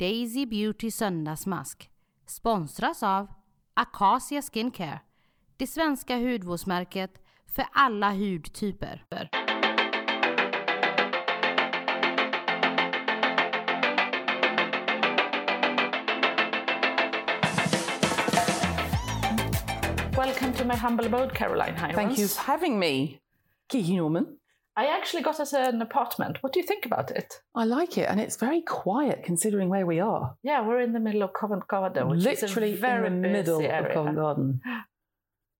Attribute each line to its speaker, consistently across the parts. Speaker 1: Daisy Beauty söndagsmask sponsras av Acacia Skincare, det svenska hudvårdsmärket för alla hudtyper.
Speaker 2: Welcome to my humble abode, Caroline Hirons.
Speaker 3: Thank you for having me, Geeky Norman.
Speaker 2: I actually got us an apartment. What do you think about it?
Speaker 3: I like it, and it's very quiet considering where we are.
Speaker 2: Yeah, we're in the middle of Covent Garden, Oh, which
Speaker 3: Literally
Speaker 2: is a very
Speaker 3: in the middle
Speaker 2: busy area.
Speaker 3: of Covent Garden.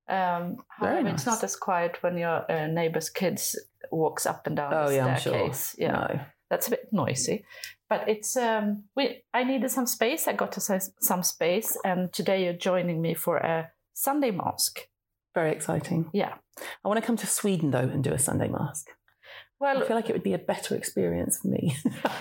Speaker 2: Um, however, it's
Speaker 3: nice.
Speaker 2: not as quiet when your uh, neighbour's kids walks up and down
Speaker 3: Oh
Speaker 2: the
Speaker 3: yeah, I'm sure.
Speaker 2: staircase. Yeah,
Speaker 3: No.
Speaker 2: that's a bit noisy. But it's um, we. I needed some space. I got to s- some space, and today you're joining me for a Sunday mask.
Speaker 3: Very exciting.
Speaker 2: Yeah.
Speaker 3: I want to come to Sweden though and do a Sunday mask. I
Speaker 2: Well,
Speaker 3: feel like it would be a better experience for me.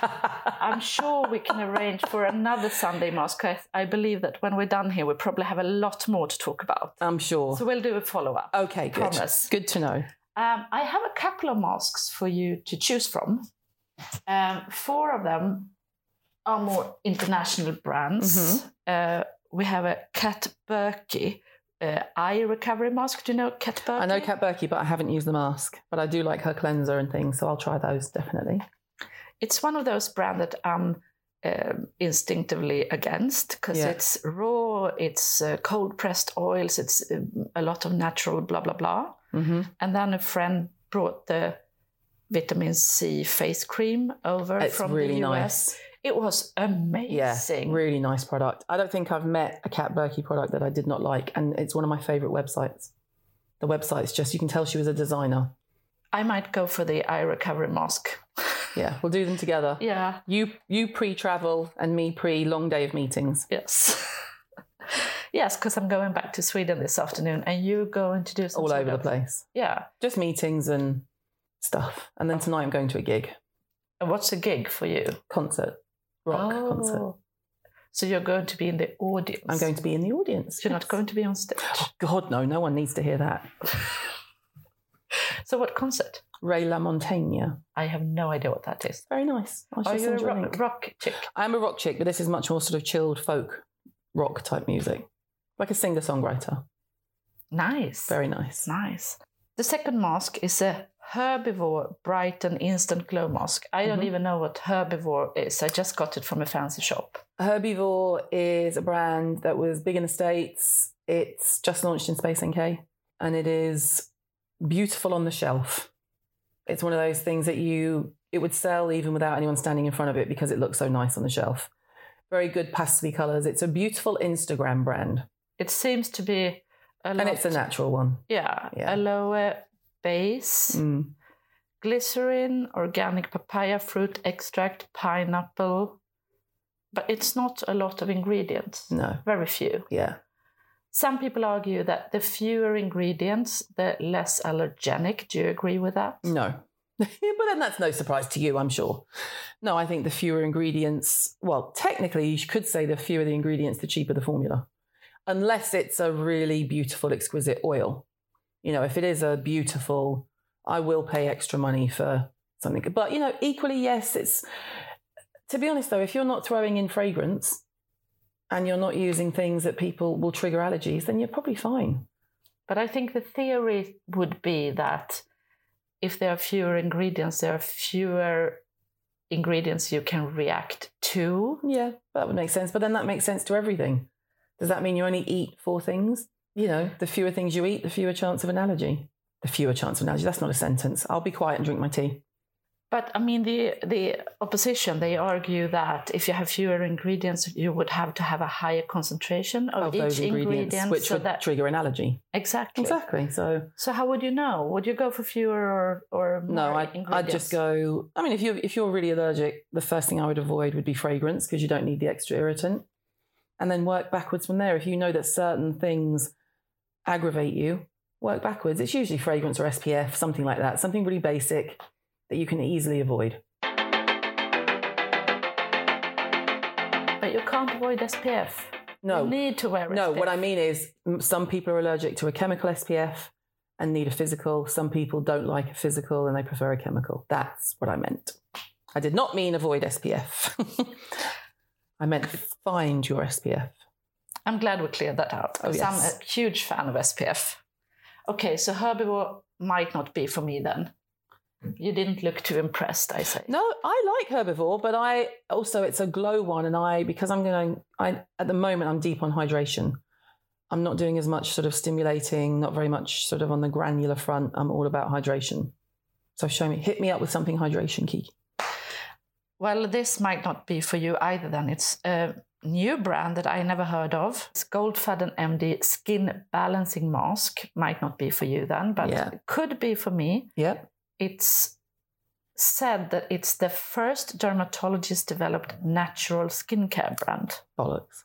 Speaker 2: I'm sure we can arrange for another Sunday mask. I, I believe that when we're done here, we probably have a lot more to talk about.
Speaker 3: I'm sure.
Speaker 2: So we'll do a follow up.
Speaker 3: okay, good.
Speaker 2: promise.
Speaker 3: Good to know.
Speaker 2: Um, I have a couple of masks for you to choose from. Um, four of them are more international
Speaker 3: Mm-hmm.
Speaker 2: brands. Uh, we have a Kat Berkey uh, eye recovery mask. Do you know Kat Berkey?
Speaker 3: I know Kat Berkey, but I haven't used the mask. But I do like her cleanser and things, so I'll try those definitely.
Speaker 2: It's one of those brands that I'm um, instinctively against because
Speaker 3: Yeah.
Speaker 2: it's raw, it's uh, cold pressed oils, it's um, a lot of natural blah blah blah.
Speaker 3: Mm-hmm.
Speaker 2: And then a friend brought the vitamin C face cream over
Speaker 3: It's
Speaker 2: from
Speaker 3: really
Speaker 2: the US.
Speaker 3: nice.
Speaker 2: It was amazing.
Speaker 3: Yeah, really nice product. I don't think I've met a Kat Berkey product that I did not like, and it's one of my favorite websites. The website's just you can tell she was a designer.
Speaker 2: I might go for the eye recovery mask.
Speaker 3: Yeah, we'll do them together.
Speaker 2: Yeah.
Speaker 3: You you pre-travel and me pre long day of meetings.
Speaker 2: Yes. yes, because I'm going back to Sweden this afternoon, and you're going to do some
Speaker 3: all
Speaker 2: sort
Speaker 3: over the
Speaker 2: of-
Speaker 3: place.
Speaker 2: Yeah.
Speaker 3: Just meetings and stuff. And then tonight I'm going to a gig,
Speaker 2: And what's the gig for you?
Speaker 3: concert, rock concert.
Speaker 2: Oh. So you're going to be in the audience.
Speaker 3: I'm going to be in the audience.
Speaker 2: So you're not
Speaker 3: yes.
Speaker 2: going to be on stage.
Speaker 3: God no, no one needs to hear that.
Speaker 2: So what concert?
Speaker 3: Ray LaMontagne.
Speaker 2: I have no idea what that is.
Speaker 3: Very nice. I shall
Speaker 2: Are you a
Speaker 3: send you a link.
Speaker 2: rock, rock chick?
Speaker 3: I'm a rock chick, but this is much more sort of chilled folk rock type music, like a singer songwriter.
Speaker 2: Nice.
Speaker 3: Very nice.
Speaker 2: Nice. The second mask is a herbivore Brighton instant glow mask. I don't
Speaker 3: Mhm.
Speaker 2: even know what herbivore is. I just got it from a fancy shop.
Speaker 3: Herbivore is a brand that was big in the States. It's just launched in Space NK and it is beautiful on the shelf. It's one of those things that you, it would sell even without anyone standing in front of it because it looks so nice on the shelf. Very good pastel colours. It's a beautiful Instagram brand
Speaker 2: It seems to be a lot,
Speaker 3: and it's a natural one.
Speaker 2: yeah,
Speaker 3: yeah.
Speaker 2: aloe base,
Speaker 3: Mm.
Speaker 2: glycerin, organic papaya fruit extract, pineapple, but it's not a lot of ingredients.
Speaker 3: No,
Speaker 2: Very few.
Speaker 3: yeah.
Speaker 2: Some people argue that the fewer ingredients, the less allergenic. Do you agree with that?
Speaker 3: No. but then that's no surprise to you, I'm sure. No, I think the fewer ingredients, well, technically, you could say the fewer the ingredients, the cheaper the formula, unless it's a really beautiful, exquisite oil. You know, if it is a beautiful, I will pay extra money for something. But, you know, equally, yes, it's to be honest though, if you're not throwing in fragrance and you're not using things that people will trigger allergies, then you're probably fine.
Speaker 2: But I think the theory would be that if there are fewer ingredients, there are fewer ingredients you can react to.
Speaker 3: Yeah, that would make sense. But then that makes sense to everything. Does that mean you only eat four things? You know, the fewer things you eat, the fewer chance of an allergy. The fewer chance of an allergy. That's not a sentence. I'll be quiet and drink my tea.
Speaker 2: But I mean, the the opposition they argue that if you have fewer ingredients, you would have to have a higher concentration of,
Speaker 3: Of
Speaker 2: each
Speaker 3: those ingredients,
Speaker 2: ingredient.
Speaker 3: which
Speaker 2: Oh, so
Speaker 3: would
Speaker 2: that
Speaker 3: trigger an allergy.
Speaker 2: exactly.
Speaker 3: Exactly. So
Speaker 2: So how would you know? Would you go for fewer or, or more
Speaker 3: no, I'd,
Speaker 2: ingredients?
Speaker 3: I'd just go. I mean, if you if you're really allergic, the first thing I would avoid would be fragrance because you don't need the extra irritant, and then work backwards from there. If you know that certain things aggravate you, work backwards. It's usually fragrance or SPF, something like that, something really basic that you can easily avoid.
Speaker 2: But you can't avoid SPF.
Speaker 3: No,
Speaker 2: you need to wear
Speaker 3: No,
Speaker 2: SPF.
Speaker 3: what I mean is m- some people are allergic to a chemical SPF and need a physical. Some people don't like a physical and they prefer a chemical. That's what I meant. I did not mean avoid SPF. I meant find your SPF.
Speaker 2: I'm glad we cleared that out
Speaker 3: Oh,
Speaker 2: 'cause
Speaker 3: yes.
Speaker 2: I'm a huge fan of SPF. Okay, so herbivore might not be for me then. You didn't look too impressed, I say.
Speaker 3: No, I like herbivore, but I also it's a glow one, and I because I'm going. I at the moment I'm deep on hydration. I'm not doing as much sort of stimulating, not very much sort of on the granular front. I'm all about hydration. So show me, hit me up with something hydration, Kiki.
Speaker 2: Well, this might not be for you either then. It's a new brand that I never heard of. It's Goldfaden MD Skin Balancing Mask. Might not be for you then, but
Speaker 3: Yeah.
Speaker 2: it could be for me.
Speaker 3: Yep.
Speaker 2: It's said that it's the first dermatologist developed natural skincare brand.
Speaker 3: Bollocks.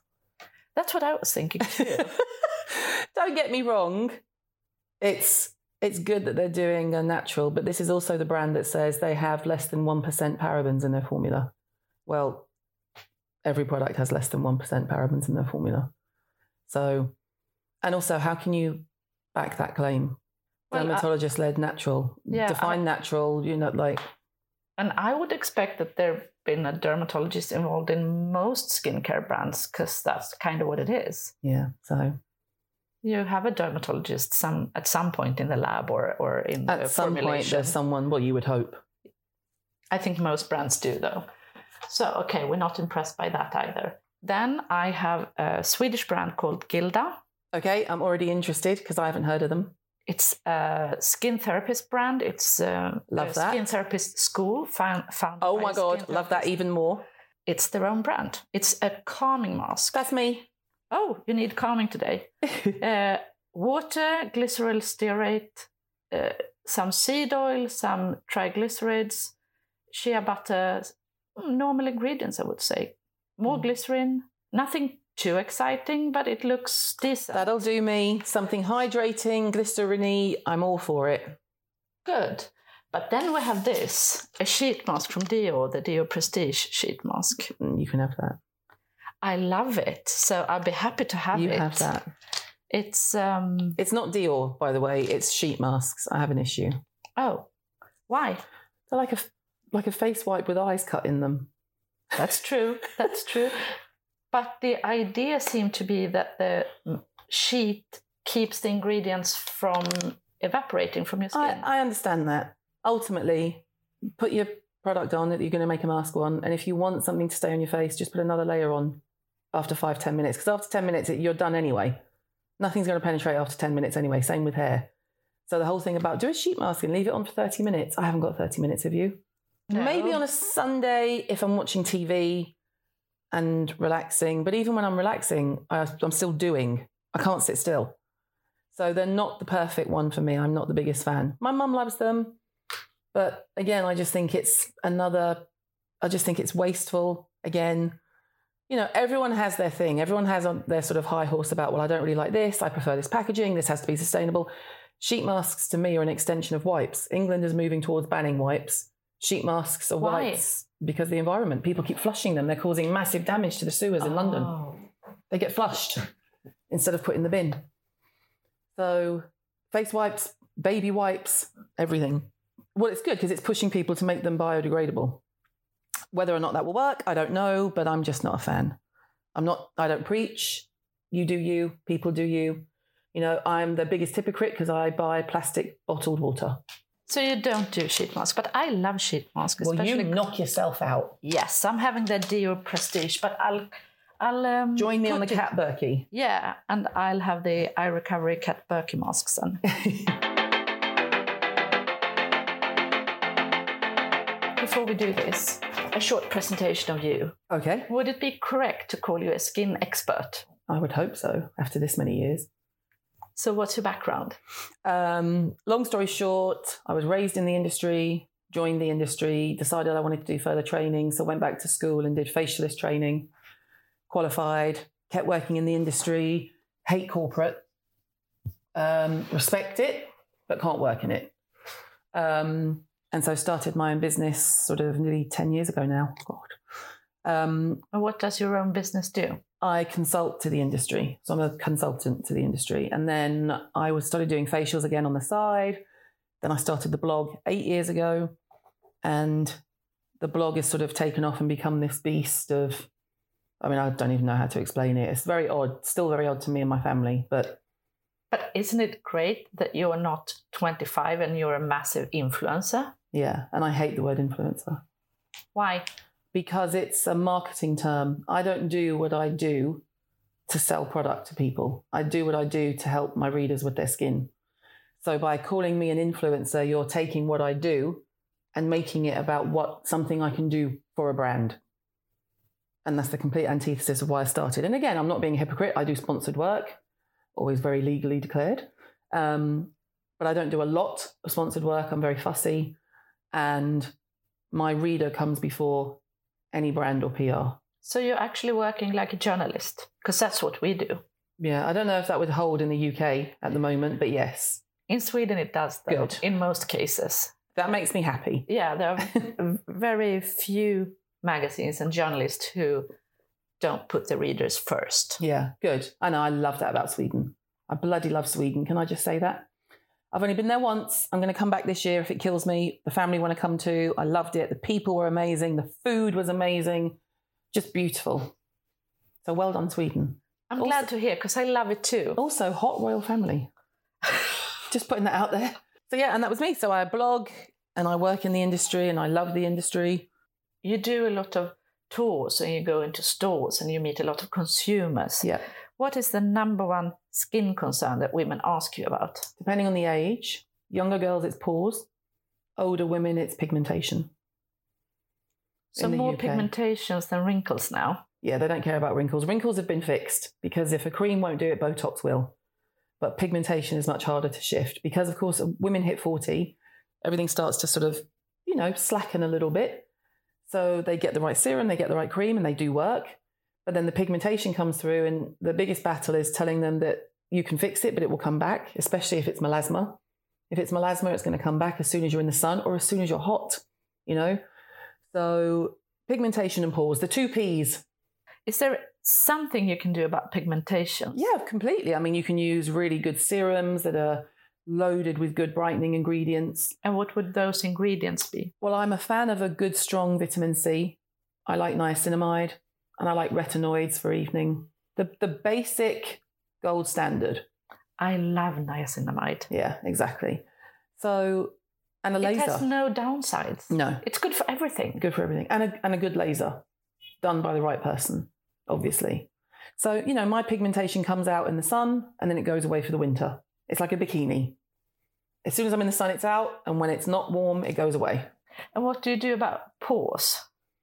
Speaker 2: That's what I was thinking. too.
Speaker 3: Don't get me wrong. It's it's good that they're doing a natural, but this is also the brand that says they have less than one percent parabens in their formula. Well, every product has less than one percent parabens in their formula. So, and also, how can you back that claim?
Speaker 2: Well, I-
Speaker 3: Dermatologist led natural.
Speaker 2: Yeah,
Speaker 3: Define natural. You know, like
Speaker 2: and I would expect that there been a dermatologist involved in most skincare brands because that's kind of what it is.
Speaker 3: yeah. So
Speaker 2: You have a dermatologist some at some point in the lab or, or in
Speaker 3: at
Speaker 2: the
Speaker 3: some point,
Speaker 2: formulation.
Speaker 3: there's someone. Well, you would hope.
Speaker 2: I think most brands do though. So okay, we're not impressed by that either. Then I have a Swedish brand called Gilda.
Speaker 3: Okay, I'm already interested because I haven't heard of them.
Speaker 2: It's a skin therapist brand. It's um, a,
Speaker 3: Love that.
Speaker 2: skin therapist school found. found
Speaker 3: Oh
Speaker 2: by
Speaker 3: my
Speaker 2: skin
Speaker 3: god, love that
Speaker 2: therapists.
Speaker 3: even more.
Speaker 2: It's their own brand. It's a calming mask.
Speaker 3: That's me.
Speaker 2: oh, you need calming today. uh, water, glycerol stearate, uh, some seed oil, some triglycerides, shea butter, mm, normal ingredients, I would say.
Speaker 3: Mm.
Speaker 2: More glycerin, nothing too exciting, but it looks decent.
Speaker 3: That'll do me. Something hydrating, glycerin I'm all for it.
Speaker 2: good. But then we have this a sheet mask from Dior, the Dior Prestige sheet mask.
Speaker 3: Mm, You can have that.
Speaker 2: I love it, so I'll be happy to have
Speaker 3: you
Speaker 2: it.
Speaker 3: have that.
Speaker 2: It's um
Speaker 3: It's not Dior, by the way. It's sheet masks. I have an issue.
Speaker 2: oh, why?
Speaker 3: They're like a f- like a face wipe with eyes cut in them.
Speaker 2: That's true. That's true. But the idea seemed to be that the sheet keeps the ingredients from evaporating from your skin.
Speaker 3: I, I understand that. Ultimately, put your product on that you're going to make a mask on, and if you want something to stay on your face, just put another layer on after five ten minutes. Because after ten minutes, it- you're done anyway. Nothing's going to penetrate after ten minutes anyway. Same with hair. So the whole thing about do a sheet mask and leave it on for thirty minutes. I haven't got thirty minutes of you.
Speaker 2: No.
Speaker 3: Maybe on a Sunday if I'm watching TV and relaxing. But even when I'm relaxing, I, I'm still doing. I can't sit still. So they're not the perfect one for me. I'm not the biggest fan. My mum loves them. But again, I just think it's another, I just think it's wasteful. Again, you know, everyone has their thing. Everyone has on their sort of high horse about, well, I don't really like this. I prefer this packaging. This has to be sustainable. Sheet masks to me are an extension of wipes. England is moving towards banning wipes. Sheet masks are
Speaker 2: Why?
Speaker 3: wipes because of the environment. People keep flushing them. They're causing massive damage to the sewers in London
Speaker 2: Oh.
Speaker 3: they get flushed instead of put in the bin. So face wipes, baby wipes, everything. Well, it's good because it's pushing people to make them biodegradable. Whether or not that will work, I don't know, but I'm just not a fan. I'm not, I don't preach. You do you, people do you. You know, I'm the biggest hypocrite because I buy plastic bottled water.
Speaker 2: So you don't do sheet masks, but I love sheet masks. especially
Speaker 3: knock yourself out.
Speaker 2: yes, I'm having the Dior Prestige, but I'll I'll um,
Speaker 3: Join me on the
Speaker 2: put it-
Speaker 3: cat Berkey.
Speaker 2: Yeah, and I'll have the Eye Recovery Cat Berkey masks then. Before we do this, a short presentation of you.
Speaker 3: Okay.
Speaker 2: Would it be correct to call you a skin expert?
Speaker 3: I would hope so after this many years.
Speaker 2: So, what's your background?
Speaker 3: Um, long story short, I was raised in the industry, joined the industry, decided I wanted to do further training, so went back to school and did facialist training, qualified, kept working in the industry, hate corporate, um, respect it, but can't work in it. Um, and so started my own business sort of nearly 10 years ago now. God. Um,
Speaker 2: And what does your own business do?
Speaker 3: I consult to the industry. So I'm a consultant to the industry. And then I was started doing facials again on the side. Then I started the blog eight years ago. And the blog has sort of taken off and become this beast of I mean, I don't even know how to explain it. It's very odd, still very odd to me and my family, but
Speaker 2: But isn't it great that you're not 25 and you're a massive influencer?
Speaker 3: yeah. And I hate the word influencer
Speaker 2: Why?
Speaker 3: because it's a marketing term. I don't do what I do to sell product to people, I do what I do to help my readers with their skin. So by calling me an influencer, you're taking what I do and making it about what something I can do for a brand. And that's the complete antithesis of why I started. And again, I'm not being a hypocrite. I do sponsored work, always very legally declared. Um, but I don't do a lot of sponsored work. I'm very fussy. And my reader comes before any brand or PR.
Speaker 2: So you're actually working like a journalist because that's what we do.
Speaker 3: Yeah, I don't know if that would hold in the UK at the moment, but yes,
Speaker 2: In Sweden, it does that
Speaker 3: Good.
Speaker 2: in most cases.
Speaker 3: that makes me happy.
Speaker 2: Yeah, there are very few magazines and journalists who don't put the readers first.
Speaker 3: Yeah, good. I know. I love that about Sweden. I bloody love Sweden. Can I just say that? I've only been there once. I'm going to come back this year if it kills me. The family want to come too. I loved it. The people were amazing. The food was amazing. Just beautiful. So well done, Sweden.
Speaker 2: I'm
Speaker 3: Also- Oh.
Speaker 2: glad to hear because I love it too.
Speaker 3: Also, hot royal family. Just putting that out there. So yeah, and that was me. So I blog and I work in the industry and I love the industry.
Speaker 2: You do a lot of tours and you go into stores and you meet a lot of consumers.
Speaker 3: Yeah.
Speaker 2: What is the number one skin concern that women ask you about?
Speaker 3: Depending on the age, younger girls, it's pores. Older women, it's pigmentation.
Speaker 2: So
Speaker 3: In the
Speaker 2: more
Speaker 3: UK.
Speaker 2: pigmentations than wrinkles now.
Speaker 3: Yeah, they don't care about wrinkles. Wrinkles have been fixed because if a cream won't do it, Botox will. But pigmentation is much harder to shift because, of course, women hit 40, everything starts to sort of, you know, slacken a little bit. So they get the right serum, they get the right cream, and they do work. But then the pigmentation comes through, and the biggest battle is telling them that you can fix it, but it will come back, especially if it's melasma. If it's melasma, it's going to come back as soon as you're in the sun or as soon as you're hot, you know? So pigmentation and pores, the two P's
Speaker 2: Is there something you can do about pigmentation?
Speaker 3: Yeah, completely. I mean, you can use really good serums that are loaded with good brightening ingredients.
Speaker 2: And what would those ingredients be?
Speaker 3: Well, I'm a fan of a good, strong vitamin C. I like niacinamide and I like retinoids for evening. The, the basic gold standard.
Speaker 2: I love niacinamide.
Speaker 3: Yeah, exactly. So, and a laser.
Speaker 2: It has no downsides.
Speaker 3: no,
Speaker 2: It's good for everything.
Speaker 3: good for everything. And a, and a good laser done by the right person, obviously. So, you know, my pigmentation comes out in the sun and then it goes away for the winter. It's like a bikini. As soon as I'm in the sun, it's out. And when it's not warm, it goes away.
Speaker 2: And what do you do about pores?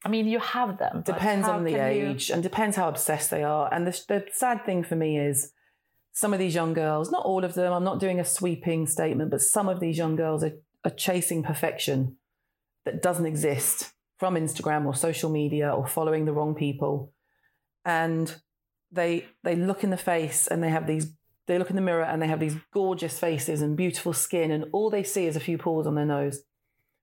Speaker 2: I mean, you have them. but
Speaker 3: Depends
Speaker 2: how
Speaker 3: on the
Speaker 2: can you-
Speaker 3: age and depends how obsessed they are. And the, the sad thing for me is some of these young girls, not all of them, I'm not doing a sweeping statement, but some of these young girls are, are chasing perfection that doesn't exist from Instagram or social media or following the wrong people. And they they look in the face and they have these they look in the mirror and they have these gorgeous faces and beautiful skin and all they see is a few pores on their nose.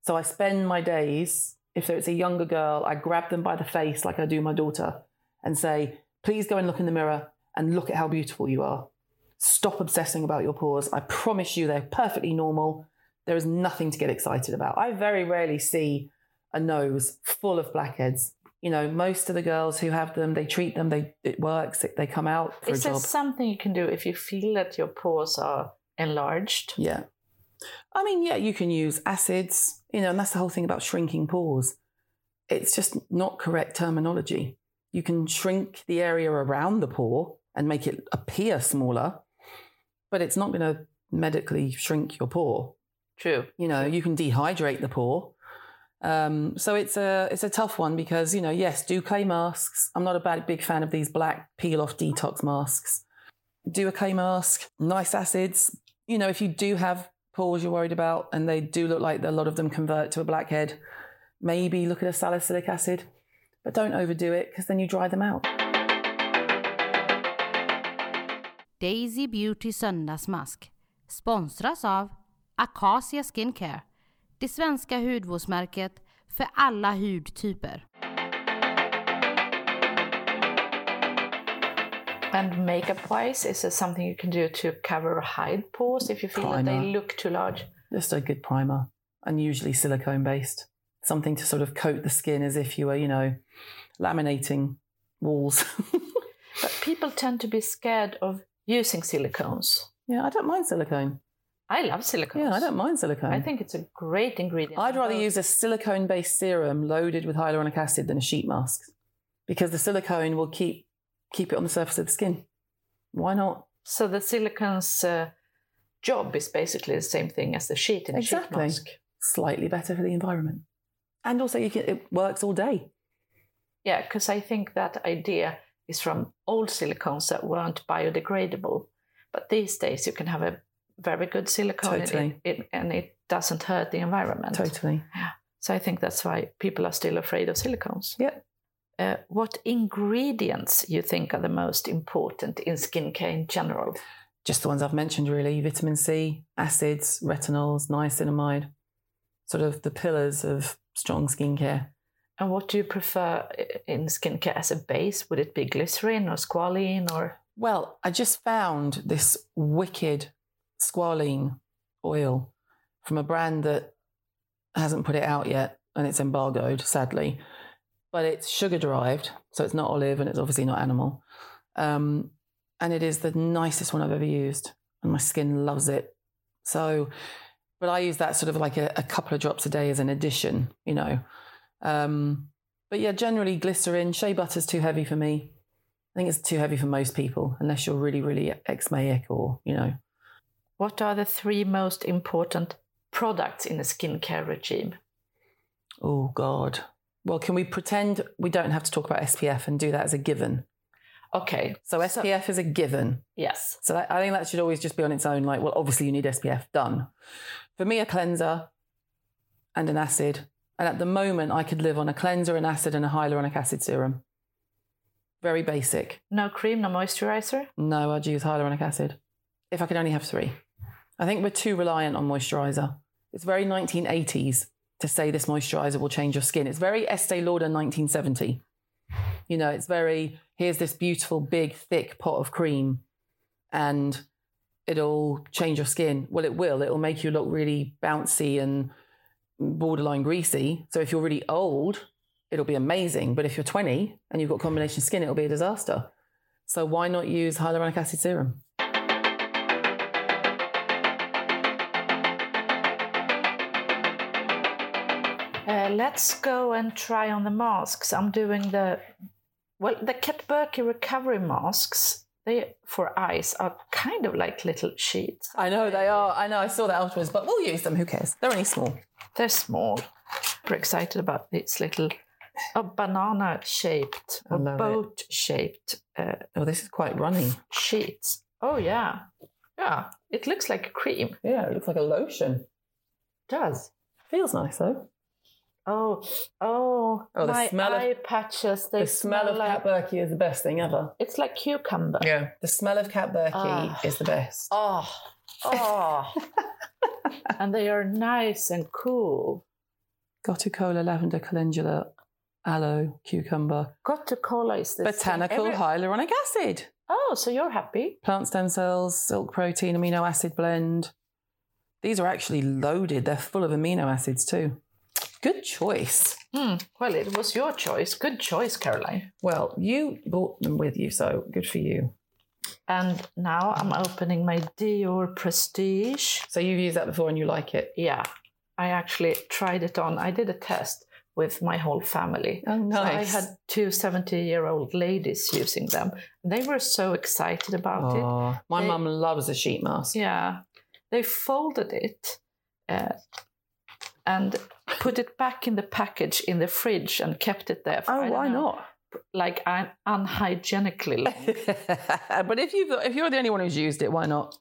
Speaker 3: So I spend my days, if it's a younger girl, I grab them by the face like I do my daughter and say, please go and look in the mirror and look at how beautiful you are. Stop obsessing about your pores. I promise you they're perfectly normal. There is nothing to get excited about. I very rarely see a nose full of blackheads. You know, most of the girls who have them, they treat them, they it works, they come out for
Speaker 2: Is
Speaker 3: a
Speaker 2: there
Speaker 3: job.
Speaker 2: something you can do if you feel that your pores are enlarged?
Speaker 3: Yeah. I mean, yeah, you can use acids, you know, and that's the whole thing about shrinking pores. It's just not correct terminology. You can shrink the area around the pore and make it appear smaller, but it's not going to medically shrink your pore.
Speaker 2: True.
Speaker 3: You know, you can dehydrate the pore. Um, so it's a it's a tough one because you know, yes, do clay masks. I'm not a bad big fan of these black peel off detox masks. Do a clay mask, nice acids. You know, if you do have pores you're worried about, and they do look like a lot of them convert to a blackhead, maybe look at a salicylic acid, but don't overdo it because then you dry them out.
Speaker 1: Daisy Beauty söndagsmask sponsras av Acacia Skincare, det svenska hudvårdsmärket för alla hudtyper.
Speaker 2: And makeup wise, is there something you can do to cover or hide pores if you feel that
Speaker 3: Primer.
Speaker 2: they look too large?
Speaker 3: just a good primer and usually silicone based something to sort of coat the skin as if you were you know laminating walls.
Speaker 2: But people tend to be scared of using silicones.
Speaker 3: yeah, I don't mind silicone.
Speaker 2: I love silicones.
Speaker 3: Yeah, I don't mind silicone.
Speaker 2: I think it's a great ingredient.
Speaker 3: I'd rather
Speaker 2: Although-
Speaker 3: use a silicone based serum loaded with hyaluronic acid than a sheet mask because the silicone will keep keep it on the surface of the skin. Why not?
Speaker 2: So the silicon's uh, job is basically the same thing as the sheet in
Speaker 3: Exactly.
Speaker 2: a sheet mask.
Speaker 3: Slightly better for the environment. And also, you can, it works all day.
Speaker 2: Yeah, because I think that idea is from old silicones that weren't biodegradable. But these days you can have a very good silicone
Speaker 3: Totally.
Speaker 2: and, it, it, and it doesn't hurt the environment.
Speaker 3: Totally.
Speaker 2: So I think that's why people are still afraid of silicones.
Speaker 3: Yep.
Speaker 2: Uh, what ingredients you think are the most important in skincare in general?
Speaker 3: Just the ones I've mentioned, really vitamin C, acids, retinols, niacinamide, sort of the pillars of strong skincare.
Speaker 2: And what do you prefer i- in skincare as a base? Would it be glycerin or squalene or
Speaker 3: Well, I just found this wicked squalene oil from a brand that hasn't put it out yet and it's embargoed, sadly. But it's sugar derived, so it's not olive and it's obviously not animal. Um, and it is the nicest one I've ever used, and my skin loves it. So, but I use that sort of like a, a couple of drops a day as an addition, you know. Um, but yeah, generally glycerin, shea butter's too heavy for me. I think it's too heavy for most people, unless you're really, really ex-maic or, you know.
Speaker 2: what are the three most important products in a skincare regime?
Speaker 3: Oh, God. Well, can we pretend we don't have to talk about SPF and do that as a given?
Speaker 2: Okay,
Speaker 3: So SPF is a given.
Speaker 2: yes.
Speaker 3: So that, I think that should always just be on its own. Like, well, obviously you need SPF done. For me, a cleanser and an acid. And at the moment, I could live on a cleanser, an acid, and a hyaluronic acid serum. Very basic.
Speaker 2: No cream, no moisturizer?
Speaker 3: No, I'd use hyaluronic acid if I could only have three. I think we're too reliant on moisturizer. It's very 1980s to say this moisturizer will change your skin. It's very Estee Lauder 1970. You know, it's very here's this beautiful big thick pot of cream and it'll change your skin. Well, it will. It'll make you look really bouncy and borderline greasy. So if you're really old, it'll be amazing, but if you're 20 and you've got combination skin, it'll be a disaster. So why not use hyaluronic acid serum?
Speaker 2: Uh, let's go and try on the masks. I'm doing the well, the Kat Berkey recovery masks. They for eyes are kind of like little sheets.
Speaker 3: I know they are. I know I saw that afterwards, but we'll use them. Who cares? They're only small.
Speaker 2: They're small. We're excited about these little, a banana shaped or
Speaker 3: love it.
Speaker 2: boat shaped uh,
Speaker 3: Oh, this is quite runny.
Speaker 2: sheets. Oh yeah, yeah. It looks like a cream.
Speaker 3: Yeah, it looks like a lotion.
Speaker 2: does.
Speaker 3: Feels nice though.
Speaker 2: Oh, oh,
Speaker 3: Oh, the
Speaker 2: my
Speaker 3: smell of-
Speaker 2: eye patches. They
Speaker 3: the smell, of
Speaker 2: like,
Speaker 3: cat Berkey is the best thing ever.
Speaker 2: It's like cucumber.
Speaker 3: Yeah, the smell of cat Berkey
Speaker 2: Ah.
Speaker 3: is the best.
Speaker 2: Oh, oh. and they are nice and cool.
Speaker 3: Gotucola, lavender, calendula, aloe, cucumber,
Speaker 2: Got to cola is this thing.
Speaker 3: botanical
Speaker 2: Every-
Speaker 3: hyaluronic acid,
Speaker 2: Oh, so you're happy?
Speaker 3: plant stem cells, silk protein, amino acid blend. These are actually loaded. They're full of amino acids too. Good choice.
Speaker 2: Hmm. Well, it was your choice. Good choice, Caroline.
Speaker 3: Well, you brought them with you, so good for you.
Speaker 2: And now I'm opening my Dior Prestige.
Speaker 3: So you've used that before and you like it.
Speaker 2: Yeah, I actually tried it on. I did a test with my whole family.
Speaker 3: Oh,
Speaker 2: So
Speaker 3: nice.
Speaker 2: I had two 70 year old ladies using them. They were so excited about it.
Speaker 3: Aw, my
Speaker 2: They-
Speaker 3: mum loves a sheet mask.
Speaker 2: Yeah, they folded it uh, and put it back in the package in the fridge and kept it there. For, I
Speaker 3: Oh,
Speaker 2: don't
Speaker 3: why
Speaker 2: know,
Speaker 3: not?
Speaker 2: Like un- unhygienically long.
Speaker 3: but if you if you're the only one who's used it, why not?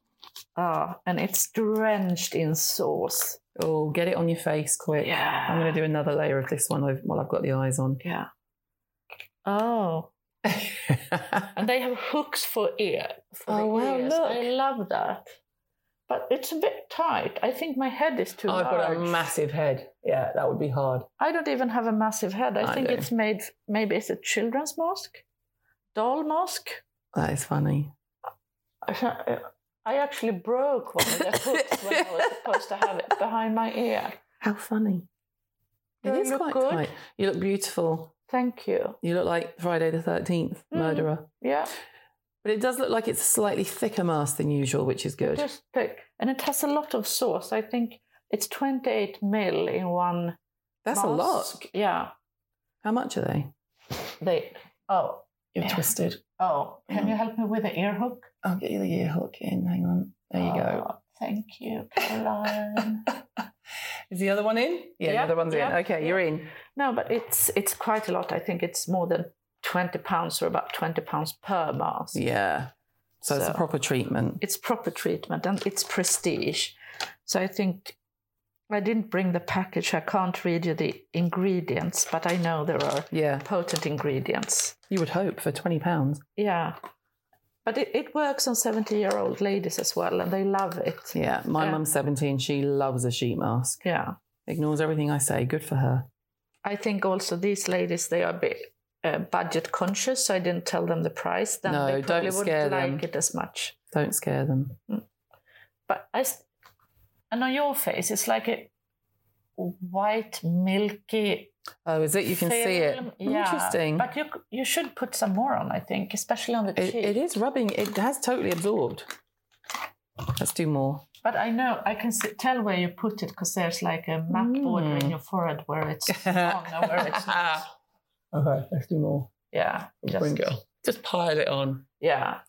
Speaker 2: Ah, and it's drenched in sauce.
Speaker 3: Oh, get it on your face quick.
Speaker 2: Yeah.
Speaker 3: I'm going to do another layer of this one over- while I've got the eyes on.
Speaker 2: Yeah. Oh, and they have hooks for ear. For the
Speaker 3: Oh, wow,
Speaker 2: ears.
Speaker 3: look.
Speaker 2: I love that. But it's a bit tight. I think my head is too
Speaker 3: I've got
Speaker 2: large.
Speaker 3: a massive head. Yeah, that would be hard.
Speaker 2: I don't even have a massive head. I,
Speaker 3: I
Speaker 2: think
Speaker 3: do.
Speaker 2: it's made. Maybe it's a children's mask, doll mask.
Speaker 3: That is funny.
Speaker 2: I actually broke one of the hooks when I was supposed to have it behind my ear.
Speaker 3: How funny.
Speaker 2: Do I look good?
Speaker 3: You look beautiful.
Speaker 2: Thank you.
Speaker 3: You look like Friday the 13th, murderer.
Speaker 2: Yeah,
Speaker 3: But it does look like it's a slightly thicker mask than usual, which is good.
Speaker 2: just thick. And it has a lot of sauce. I think it's 28 mil in one.
Speaker 3: That's a lot.
Speaker 2: mask. Yeah.
Speaker 3: How much are they?
Speaker 2: They. Oh.
Speaker 3: You're
Speaker 2: Yeah.
Speaker 3: twisted.
Speaker 2: Oh. Can you help me with the ear hook?
Speaker 3: I'll get you the ear hook in. Hang on. There you go.
Speaker 2: Oh, Thank you, Caroline.
Speaker 3: Is the other one in? Oh. Yeah,
Speaker 2: Yeah,
Speaker 3: the other one's in.
Speaker 2: yeah,
Speaker 3: Okay,
Speaker 2: yeah.
Speaker 3: you're in.
Speaker 2: no, but it's it's quite a lot. I think it's more than 20 pounds or about 20 pounds per mask.
Speaker 3: Yeah. So, it's a
Speaker 2: So-
Speaker 3: proper treatment.
Speaker 2: it's proper treatment and it's prestige. So I think I didn't bring the package. I can't read you the ingredients, but I know there are
Speaker 3: Yeah.
Speaker 2: potent ingredients.
Speaker 3: You would hope for twenty pounds.
Speaker 2: Yeah. But it, it works on 70 year old ladies as well, and they love it.
Speaker 3: Yeah. My
Speaker 2: Yeah.
Speaker 3: mum's seventeen. She loves a sheet mask.
Speaker 2: Yeah.
Speaker 3: Ignores everything I say. Good for her.
Speaker 2: I think also these ladies, they are a bit uh, budget conscious, so I didn't tell them the price. Then
Speaker 3: No,
Speaker 2: they
Speaker 3: don't
Speaker 2: probably
Speaker 3: scare
Speaker 2: wouldn't
Speaker 3: them.
Speaker 2: like it as much.
Speaker 3: Don't scare them.
Speaker 2: But I, s- and on your face, it's like a white, milky
Speaker 3: Oh, is it? You can see it.
Speaker 2: film, yeah.
Speaker 3: Interesting.
Speaker 2: But you c- you should put some more on, I think, especially on the
Speaker 3: It,
Speaker 2: cheek.
Speaker 3: it is rubbing. It has totally absorbed. Let's do more.
Speaker 2: But I know I can see, tell where you put it because there's like a map
Speaker 3: Mm.
Speaker 2: border in your forehead where it's
Speaker 3: Oh,
Speaker 2: on and where it's not.
Speaker 3: Okay, let's do more.
Speaker 2: Yeah, just,
Speaker 3: Just pile it on.
Speaker 2: yeah.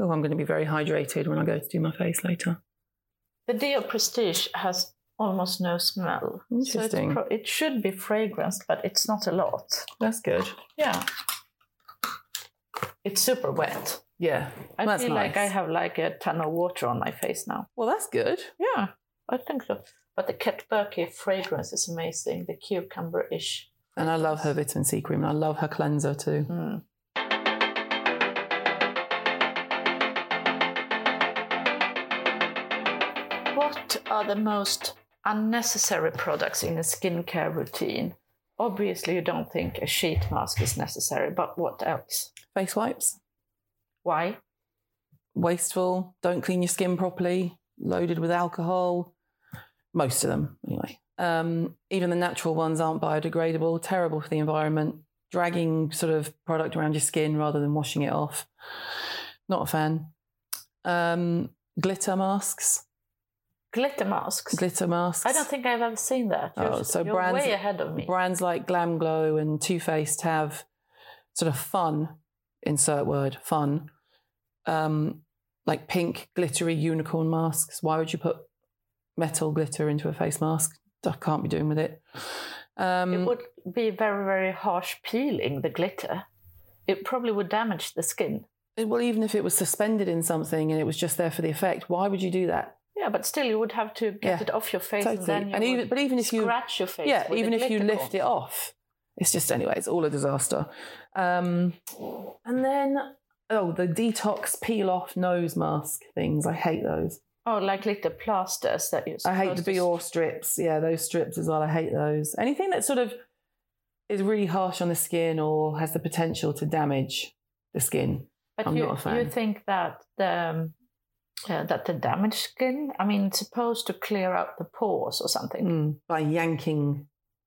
Speaker 3: Oh, I'm going to be very hydrated when I go to do my face later.
Speaker 2: The Deo Prestige has almost no smell. So
Speaker 3: Interesting.
Speaker 2: it's pro- it should be fragranced, but it's not a lot.
Speaker 3: That's good.
Speaker 2: Yeah. It's super wet.
Speaker 3: Yeah.
Speaker 2: I
Speaker 3: That's
Speaker 2: feel like I
Speaker 3: nice.
Speaker 2: have like a ton of water on my face now.
Speaker 3: Well, that's good.
Speaker 2: Yeah, I think so. But the Kat Burke fragrance is amazing, the cucumber ish.
Speaker 3: And I love her vitamin C cream and I love her cleanser too.
Speaker 2: Mm. What are the most unnecessary products in a skincare routine? Obviously, you don't think a sheet mask is necessary, but what else?
Speaker 3: Face wipes.
Speaker 2: Why?
Speaker 3: Wasteful. Don't clean your skin properly. Loaded with alcohol. Most of them, anyway. Um, even the natural ones aren't biodegradable. Terrible for the environment. Dragging sort of product around your skin rather than washing it off. Not a fan. Um, glitter masks.
Speaker 2: Glitter masks.
Speaker 3: Glitter masks.
Speaker 2: I don't think I've ever seen that. You're,
Speaker 3: Oh, so
Speaker 2: you're
Speaker 3: brands-
Speaker 2: way ahead of me.
Speaker 3: brands like Glam Glow and Too Faced have sort of fun, insert word, fun, um, like pink glittery unicorn masks. Why would you put metal glitter into a face mask? I can't be doing with it. Um,
Speaker 2: It would be very, very harsh peeling the glitter. It probably would damage the skin.
Speaker 3: well, even if it was suspended in something and it was just there for the effect, why would you do that?
Speaker 2: Yeah, but still, you would have to get
Speaker 3: Yeah,
Speaker 2: it off your face,
Speaker 3: totally.
Speaker 2: and then you
Speaker 3: And even-
Speaker 2: would
Speaker 3: but even if you-
Speaker 2: scratch your face,
Speaker 3: yeah,
Speaker 2: with
Speaker 3: even
Speaker 2: the
Speaker 3: if you
Speaker 2: glitter
Speaker 3: lift
Speaker 2: on.
Speaker 3: it off, it's just anyway, it's all a disaster. Um, and then oh, the detox peel off nose mask things. I hate those.
Speaker 2: Oh, like glitter plasters that you.
Speaker 3: I hate the Bior strips. Yeah, those strips as well. I hate those. Anything that sort of is really harsh on the skin or has the potential to damage the skin.
Speaker 2: But
Speaker 3: I'm
Speaker 2: you,
Speaker 3: not a fan.
Speaker 2: you think that the um, uh, that the damaged skin? I mean, it's supposed to clear out the pores or something.
Speaker 3: Mm. By yanking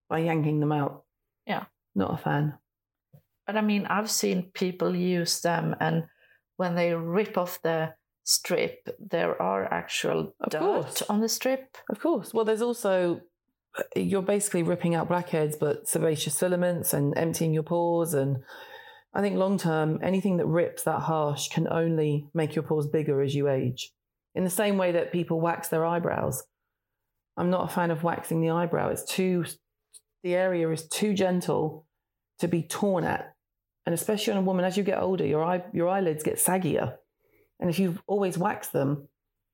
Speaker 3: by yanking them out.
Speaker 2: Yeah.
Speaker 3: Not a fan.
Speaker 2: But I mean, I've seen people use them, and when they rip off the strip, there are actual
Speaker 3: Of
Speaker 2: dirt
Speaker 3: course.
Speaker 2: on the strip.
Speaker 3: Of course. Well there's also uh, you're basically ripping out blackheads but sebaceous filaments and emptying your pores and I think long term anything that rips that harsh can only make your pores bigger as you age. In the same way that people wax their eyebrows. I'm not a fan of waxing the eyebrow. It's too, the area is too gentle to be torn at. And especially on a woman, as you get older, your, eye, your eyelids get saggier. And if you've always waxed them,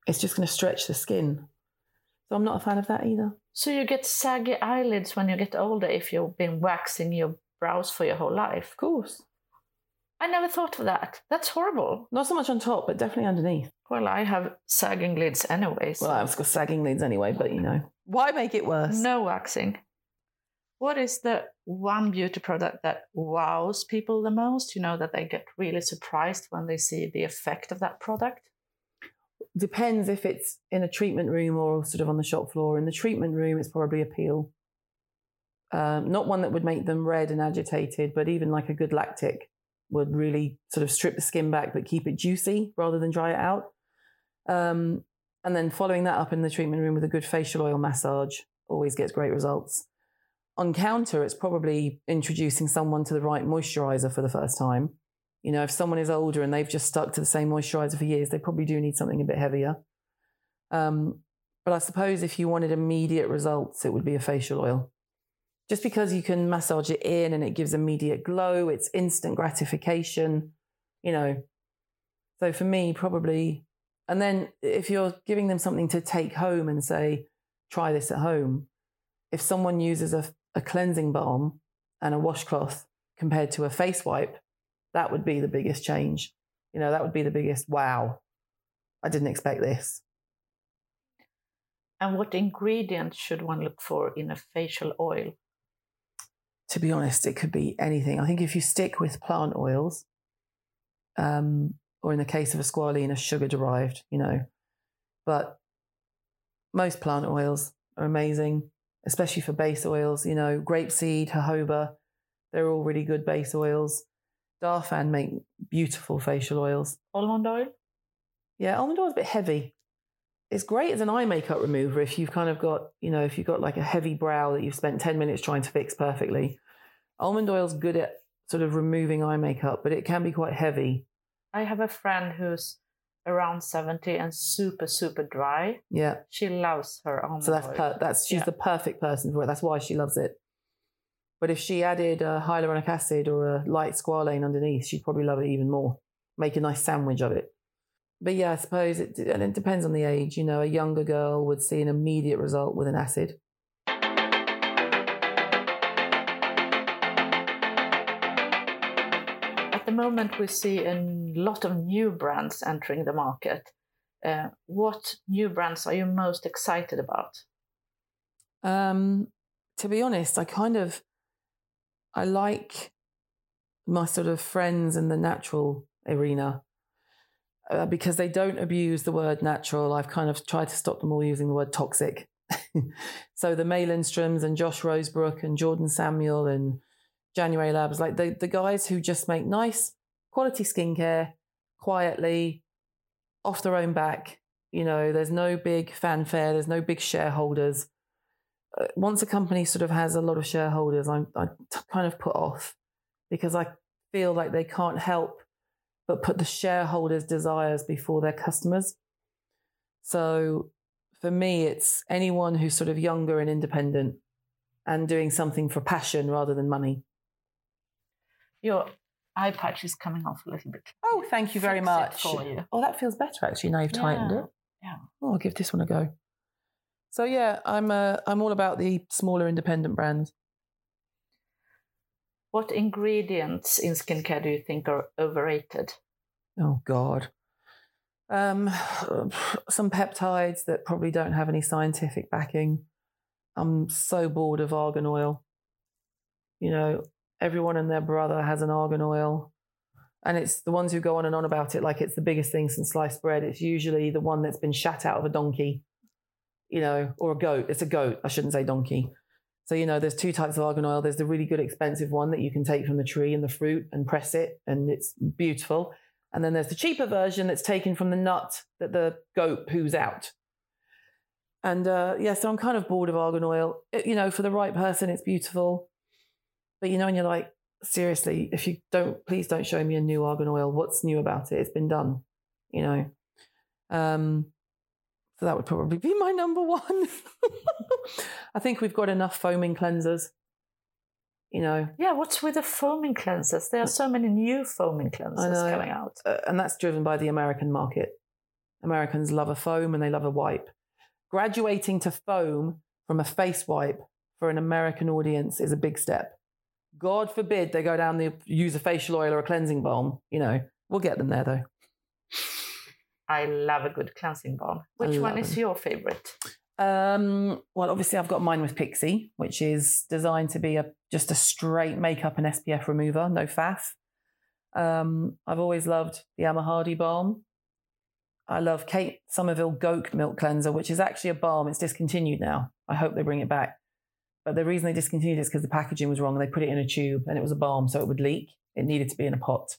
Speaker 3: it's just going to stretch the skin. So I'm not a fan of that either.
Speaker 2: So you get saggy eyelids when you get older if you've been waxing your brows for your whole life.
Speaker 3: Of course.
Speaker 2: I never thought of that. That's horrible.
Speaker 3: Not so much on top, but definitely underneath.
Speaker 2: Well, I have sagging lids anyway. So
Speaker 3: Well, I've got sagging lids anyway, but you know. Why make it worse?
Speaker 2: no waxing. What is the one beauty product that wows people the most? You know that they get really surprised when they see the effect of that product.
Speaker 3: Depends if it's in a treatment room or sort of on the shop floor. In the treatment room, it's probably a peel. um, not one that would make them red and agitated, but even like a good lactic would really sort of strip the skin back but keep it juicy rather than dry it out. Um, and then following that up in the treatment room with a good facial oil massage always gets great results. On counter, it's probably introducing someone to the right moisturizer for the first time. You know, if someone is older and they've just stuck to the same moisturizer for years, they probably do need something a bit heavier. Um, but I suppose if you wanted immediate results, it would be a facial oil. Just because you can massage it in and it gives immediate glow, it's instant gratification, you know. So for me, probably. And then if you're giving them something to take home and say, try this at home, if someone uses a, a cleansing balm and a washcloth compared to a face wipe, that would be the biggest change. You know, that would be the biggest wow. I didn't expect this.
Speaker 2: And what ingredient should one look for in a facial oil?
Speaker 3: to be honest, it could be anything. I think if you stick with plant oils, um, or in the case of a squalene, a sugar derived, you know, but most plant oils are amazing, especially for base oils, you know, grapeseed, jojoba, they're all really good base oils. Darfan make beautiful facial oils.
Speaker 2: Almond oil?
Speaker 3: Yeah, almond oil's a bit heavy. It's great as an eye makeup remover if you've kind of got, you know, if you've got like a heavy brow that you've spent 10 minutes trying to fix perfectly. Almond oil's good at sort of removing eye makeup, but it can be quite heavy.
Speaker 2: I have a friend who's around 70 and super, super dry.
Speaker 3: Yeah.
Speaker 2: She loves her almond
Speaker 3: So that's
Speaker 2: oil.
Speaker 3: per- that's she's
Speaker 2: Yeah.
Speaker 3: the perfect person for it. That's why she loves it. But if she added a hyaluronic acid or a light squalane underneath, she'd probably love it even more. Make a nice sandwich of it. But yeah, I suppose it and it depends on the age. You know, a younger girl would see an immediate result with an acid.
Speaker 2: At the moment, we see a lot of new brands entering the market. Uh, what new brands are you most excited about?
Speaker 3: Um, to be honest, I kind of I like my sort of friends in the natural arena uh, because they don't abuse the word natural. I've kind of tried to stop them all using the word toxic. so the May Lindstroms and Josh Rosebrook and Jordan Samuel and January Labs, like the the guys who just make nice quality skincare quietly off their own back. You know, there's no big fanfare, there's no big shareholders uh, once a company sort of has a lot of shareholders, I'm I t- kind of put off because I feel like they can't help but put the shareholders' desires before their customers. So for me, it's anyone who's sort of younger and independent and doing something for passion rather than money.
Speaker 2: Your eye patch is coming off a little bit.
Speaker 3: Oh, thank you very
Speaker 2: Fix it
Speaker 3: much.
Speaker 2: for you.
Speaker 3: Oh, that feels better actually. Now you've tightened
Speaker 2: Yeah,
Speaker 3: it.
Speaker 2: yeah.
Speaker 3: Oh, I'll give this one a go. So yeah, I'm uh, I'm all about the smaller independent brands.
Speaker 2: What ingredients in skincare do you think are overrated?
Speaker 3: Oh God. Um, some peptides that probably don't have any scientific backing. I'm so bored of argan oil. You know, everyone and their brother has an argan oil. And it's the ones who go on and on about it like it's the biggest thing since sliced bread. It's usually the one that's been shat out of a donkey, you know, or a goat. It's a goat. I shouldn't say donkey. So, you know, there's two types of argan oil. There's the really good expensive one that you can take from the tree and the fruit and press it, and it's beautiful. And then there's the cheaper version that's taken from the nut that the goat poos out. And uh, yeah, so I'm kind of bored of argan oil. It- you know, for the right person, it's beautiful. But you know, and you're like, seriously, if you don't, please don't show me a new argan oil. What's new about it? It's been done, you know. Um, so that would probably be my number one. I think we've got enough foaming cleansers. You know,
Speaker 2: Yeah, what's with the foaming cleansers? There are so many new foaming cleansers
Speaker 3: know.
Speaker 2: coming out.
Speaker 3: uh, and that's driven by the American market. Americans love a foam and they love a wipe. Graduating to foam from a face wipe for an American audience is a big step. God forbid they go down the use a facial oil or a cleansing balm. You know, we'll get them there though.
Speaker 2: I love a good cleansing balm.
Speaker 3: I
Speaker 2: Which one
Speaker 3: love
Speaker 2: is
Speaker 3: them.
Speaker 2: your favorite?
Speaker 3: Um, well, obviously, I've got mine with Pixie, which is designed to be a just a straight makeup and SPF remover, no faff. Um, I've always loved the Emma Hardy balm. I love Kate Somerville Goat Milk Cleanser, which is actually a balm. It's discontinued now. I hope they bring it back. But the reason they discontinued it is because the packaging was wrong. They put it in a tube and it was a balm, so it would leak. It needed to be in a pot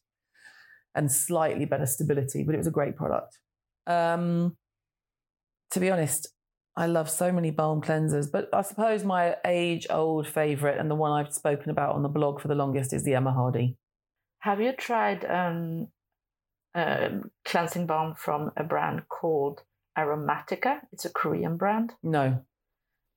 Speaker 3: and slightly better stability, but it was a great product. Um, to be honest, I love so many balm cleansers, but I suppose my age old favorite and the one I've spoken about on the blog for the longest is the Emma Hardy.
Speaker 2: Have you tried um, a cleansing balm from a brand called Aromatica? It's a Korean brand.
Speaker 3: No.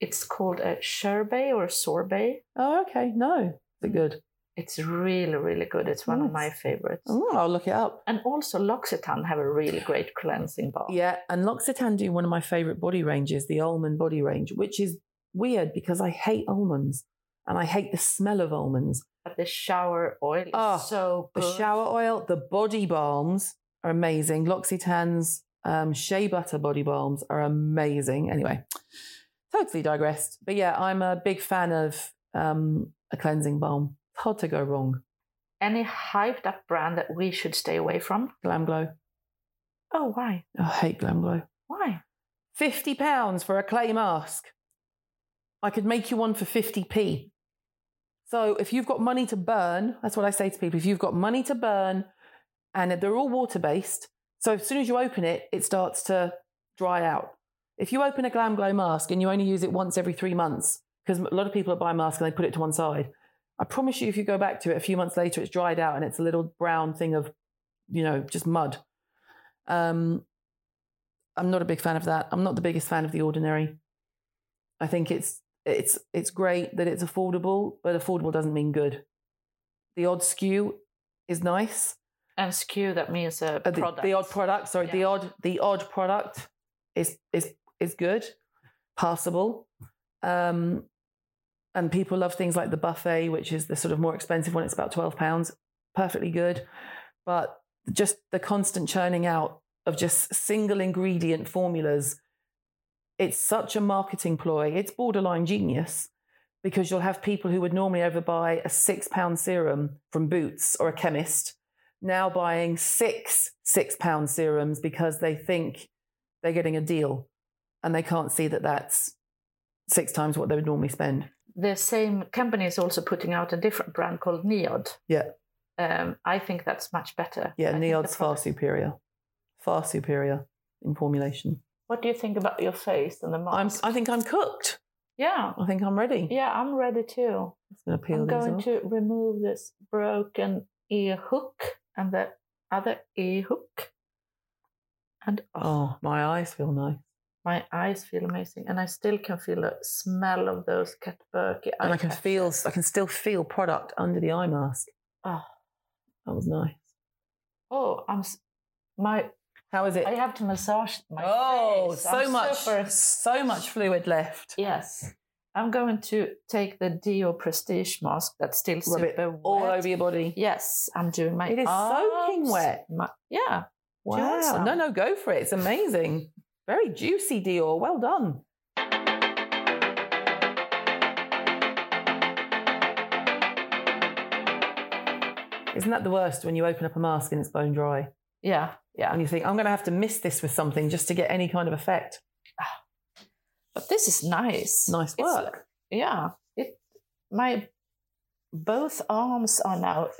Speaker 2: It's called a sherbet or sorbet.
Speaker 3: Oh, okay. No. Is it good?
Speaker 2: It's really, really good. It's one of my favorites.
Speaker 3: Oh, I'll look it up.
Speaker 2: And also L'Occitane have a really great cleansing balm.
Speaker 3: Yeah, and L'Occitane do one of my favourite body ranges, the almond body range, which is weird because I hate almonds and I hate the smell of almonds.
Speaker 2: But the shower oil is
Speaker 3: Oh,
Speaker 2: so
Speaker 3: The
Speaker 2: good.
Speaker 3: shower oil, the body balms are amazing. L'Occitane's um, shea butter body balms are amazing. Anyway, totally digressed. But yeah, I'm a big fan of um, a cleansing balm. It's hard to go wrong.
Speaker 2: Any hyped up brand that we should stay away from?
Speaker 3: Glam Glow.
Speaker 2: Oh, why?
Speaker 3: Oh, I hate Glam Glow.
Speaker 2: Why?
Speaker 3: 50 pounds for a clay mask. I could make you one for 50p. So if you've got money to burn, that's what I say to people. If you've got money to burn and they're all water based, so as soon as you open it, it starts to dry out. If you open a Glam Glow mask and you only use it once every three months, because a lot of people are buying masks and they put it to one side, I promise you, if you go back to it a few months later, it's dried out and it's a little brown thing of, you know, just mud. Um, I'm not a big fan of that. I'm not the biggest fan of the ordinary. I think it's it's it's great that it's affordable, but affordable doesn't mean good. The odd skew is nice.
Speaker 2: And skew that means a
Speaker 3: Uh, the,
Speaker 2: product.
Speaker 3: the odd product, sorry, the
Speaker 2: Yeah.
Speaker 3: odd the odd product is is is good, passable. Um and people love things like the buffet, which is the sort of more expensive one. It's about twelve pounds, perfectly good. But just the constant churning out of just single ingredient formulas, it's such a marketing ploy. It's borderline genius because you'll have people who would normally overbuy a six pound serum from Boots or a chemist now buying six six pound serums because they think they're getting a deal and they can't see that that's six times what they would normally spend.
Speaker 2: The same company is also putting out a different brand called Neod.
Speaker 3: Yeah.
Speaker 2: Um, I think that's much better. I
Speaker 3: Yeah,
Speaker 2: think the
Speaker 3: Neod's far
Speaker 2: product-
Speaker 3: superior, far superior in formulation.
Speaker 2: What do you think about your face and the
Speaker 3: I'm,
Speaker 2: mask?
Speaker 3: I think I'm cooked.
Speaker 2: yeah.
Speaker 3: I think I'm ready.
Speaker 2: Yeah, I'm ready too.
Speaker 3: It's gonna peel
Speaker 2: I'm
Speaker 3: these
Speaker 2: going
Speaker 3: off.
Speaker 2: to remove this broken ear hook and the other ear hook. And oh,
Speaker 3: Oh, my eyes feel nice,
Speaker 2: my eyes feel amazing. And I still can feel the smell of those Kat Burke
Speaker 3: and I can
Speaker 2: eyelashes.
Speaker 3: feel. I can still feel product under the eye mask.
Speaker 2: Oh.
Speaker 3: Ah. that was nice.
Speaker 2: Oh, I'm. s- My,
Speaker 3: How is it?
Speaker 2: I have to massage my
Speaker 3: oh,
Speaker 2: face.
Speaker 3: so
Speaker 2: I'm
Speaker 3: much,
Speaker 2: super-
Speaker 3: so much fluid left.
Speaker 2: yes. I'm going to take the Dio Prestige mask that's still
Speaker 3: Rub it
Speaker 2: super wet.
Speaker 3: all over your body.
Speaker 2: Yes, I'm doing my
Speaker 3: It is soaking
Speaker 2: arms,
Speaker 3: wet.
Speaker 2: my- yeah. Do you want
Speaker 3: Wow.
Speaker 2: some?
Speaker 3: No, no, go for it. It's amazing. Very juicy, Dior. Well done. Isn't that the worst when you open up a mask and it's bone dry
Speaker 2: Yeah. Yeah.
Speaker 3: and you think, I'm going to have to miss this with something just to get any kind of effect?
Speaker 2: But this is nice.
Speaker 3: Nice
Speaker 2: It's-
Speaker 3: work.
Speaker 2: yeah. It my both arms are now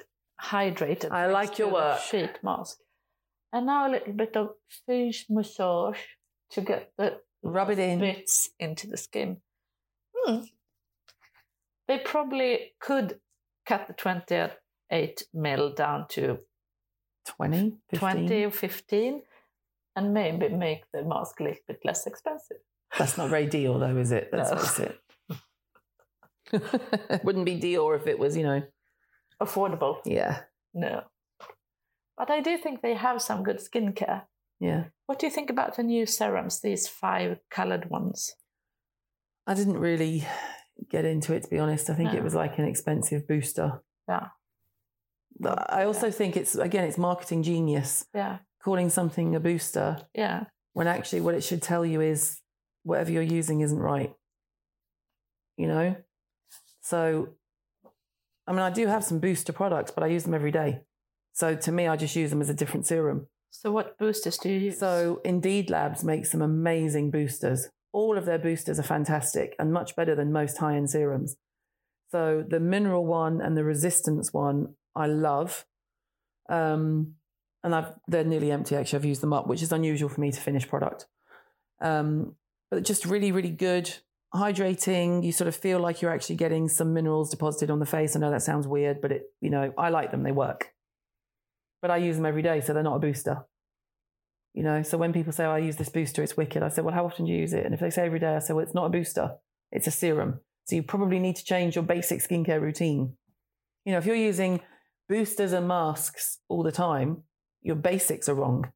Speaker 2: hydrated.
Speaker 3: I
Speaker 2: thanks
Speaker 3: like your
Speaker 2: to the
Speaker 3: work.
Speaker 2: Sheet mask. And now a little bit of face massage to get the
Speaker 3: Rub it in.
Speaker 2: bits into the skin. Hmm. They probably could cut the 28 mil down to
Speaker 3: 20, 15.
Speaker 2: 20 or 15 and maybe make the mask a little bit less expensive.
Speaker 3: That's not very Dior, though, is it? Let's
Speaker 2: No.
Speaker 3: face it. it. Wouldn't be Dior if it was, you know.
Speaker 2: Affordable.
Speaker 3: Yeah.
Speaker 2: No. But I do think they have some good skincare.
Speaker 3: Yeah.
Speaker 2: What do you think about the new serums, these five colored ones?
Speaker 3: I didn't really get into it to be honest. I think it
Speaker 2: No.
Speaker 3: was like an expensive booster.
Speaker 2: Yeah.
Speaker 3: But I also think it's again it's marketing genius
Speaker 2: Yeah,
Speaker 3: calling something a booster
Speaker 2: yeah.
Speaker 3: when actually what it should tell you is whatever you're using isn't right. You know? So I mean I do have some booster products but I use them every day. So to me I just use them as a different serum.
Speaker 2: So what boosters do you use?
Speaker 3: So Indeed Labs makes some amazing boosters. all of their boosters are fantastic and much better than most high end serums. So the mineral one and the resistance one I love. Um, and I've, they're nearly empty actually. I've used them up, which is unusual for me to finish product. Um, but just really, really good, hydrating. You sort of feel like you're actually getting some minerals deposited on the face. I know that sounds weird, but it, you know, I like them. They work. But I use them every day, so they're not a booster. You know, so when people say, oh, I use this booster, it's wicked, I say, well, how often do you use it? And if they say every day, I say, well, it's not a booster, it's a serum. So you probably need to change your basic skincare routine. You know, if you're using boosters and masks all the time, your basics are wrong.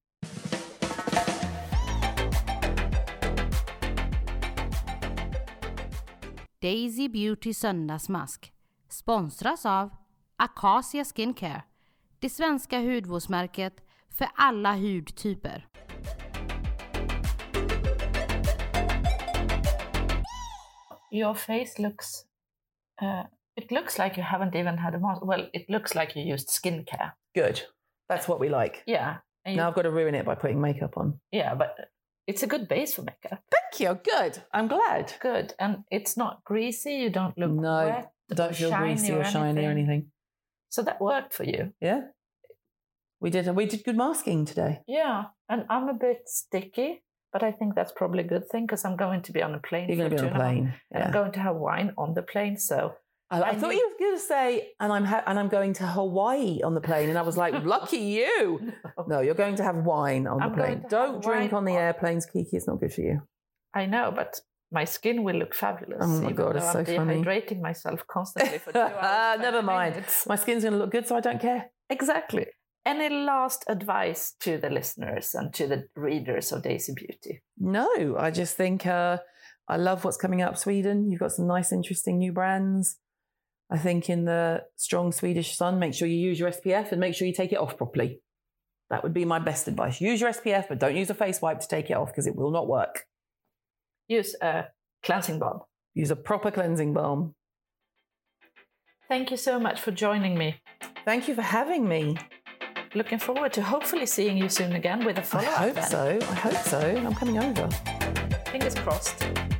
Speaker 1: Daisy Beauty söndagsmask sponsras av Acacia Skincare, det svenska hudvårdsmärket för alla hudtyper.
Speaker 2: Your face looks. Uh, it looks like you haven't even had a mask. Well, it looks like you used skincare.
Speaker 3: Good. That's what we like.
Speaker 2: Yeah. And you,
Speaker 3: Now I've got to ruin it by putting makeup on.
Speaker 2: Yeah, but it's a good base for makeup.
Speaker 3: Thank you. Good. I'm glad.
Speaker 2: Good, and it's not greasy. You don't look
Speaker 3: no,
Speaker 2: wet.
Speaker 3: I don't feel
Speaker 2: shiny
Speaker 3: greasy
Speaker 2: or
Speaker 3: or shiny or
Speaker 2: anything.
Speaker 3: anything.
Speaker 2: So that worked for you.
Speaker 3: Yeah. We did. We did good masking today.
Speaker 2: Yeah, and I'm a bit sticky, but I think that's probably a good thing because I'm going to be on a plane.
Speaker 3: You're going
Speaker 2: for
Speaker 3: to be
Speaker 2: two
Speaker 3: on
Speaker 2: and a
Speaker 3: a
Speaker 2: half-
Speaker 3: plane.
Speaker 2: and I'm
Speaker 3: Yeah.
Speaker 2: going to have wine on the plane. So
Speaker 3: I, I
Speaker 2: I
Speaker 3: thought
Speaker 2: knew-
Speaker 3: you were going to say, and I'm ha- and I'm going to Hawaii on the plane, and I was like, lucky you. No, you're going to have wine on
Speaker 2: I'm
Speaker 3: the
Speaker 2: going
Speaker 3: plane.
Speaker 2: to have
Speaker 3: Don't drink
Speaker 2: wine
Speaker 3: on the
Speaker 2: on-
Speaker 3: airplanes, Kiki. It's not good for you.
Speaker 2: I know, but my skin will look fabulous.
Speaker 3: Oh my
Speaker 2: even
Speaker 3: God,
Speaker 2: though
Speaker 3: it's
Speaker 2: I'm
Speaker 3: so funny.
Speaker 2: dehydrating myself constantly for two hours.
Speaker 3: Never
Speaker 2: 20
Speaker 3: mind.
Speaker 2: minutes.
Speaker 3: My skin's going to look good, so I don't care.
Speaker 2: Exactly. Any last advice to the listeners and to the readers of Daisy Beauty?
Speaker 3: No, I just think uh, I love what's coming up Sweden. You've got some nice, interesting new brands. I think in the strong Swedish sun, make sure you use your SPF and make sure you take it off properly. That would be my best advice. Use your SPF, but don't use a face wipe to take it off because it will not work.
Speaker 2: Use a cleansing balm.
Speaker 3: Use a proper cleansing balm.
Speaker 2: Thank you so much for joining me.
Speaker 3: Thank you for having me.
Speaker 2: Looking forward to hopefully seeing you soon again with a
Speaker 3: I
Speaker 2: follow up.
Speaker 3: hope so. I hope so. I'm coming over.
Speaker 2: Fingers crossed.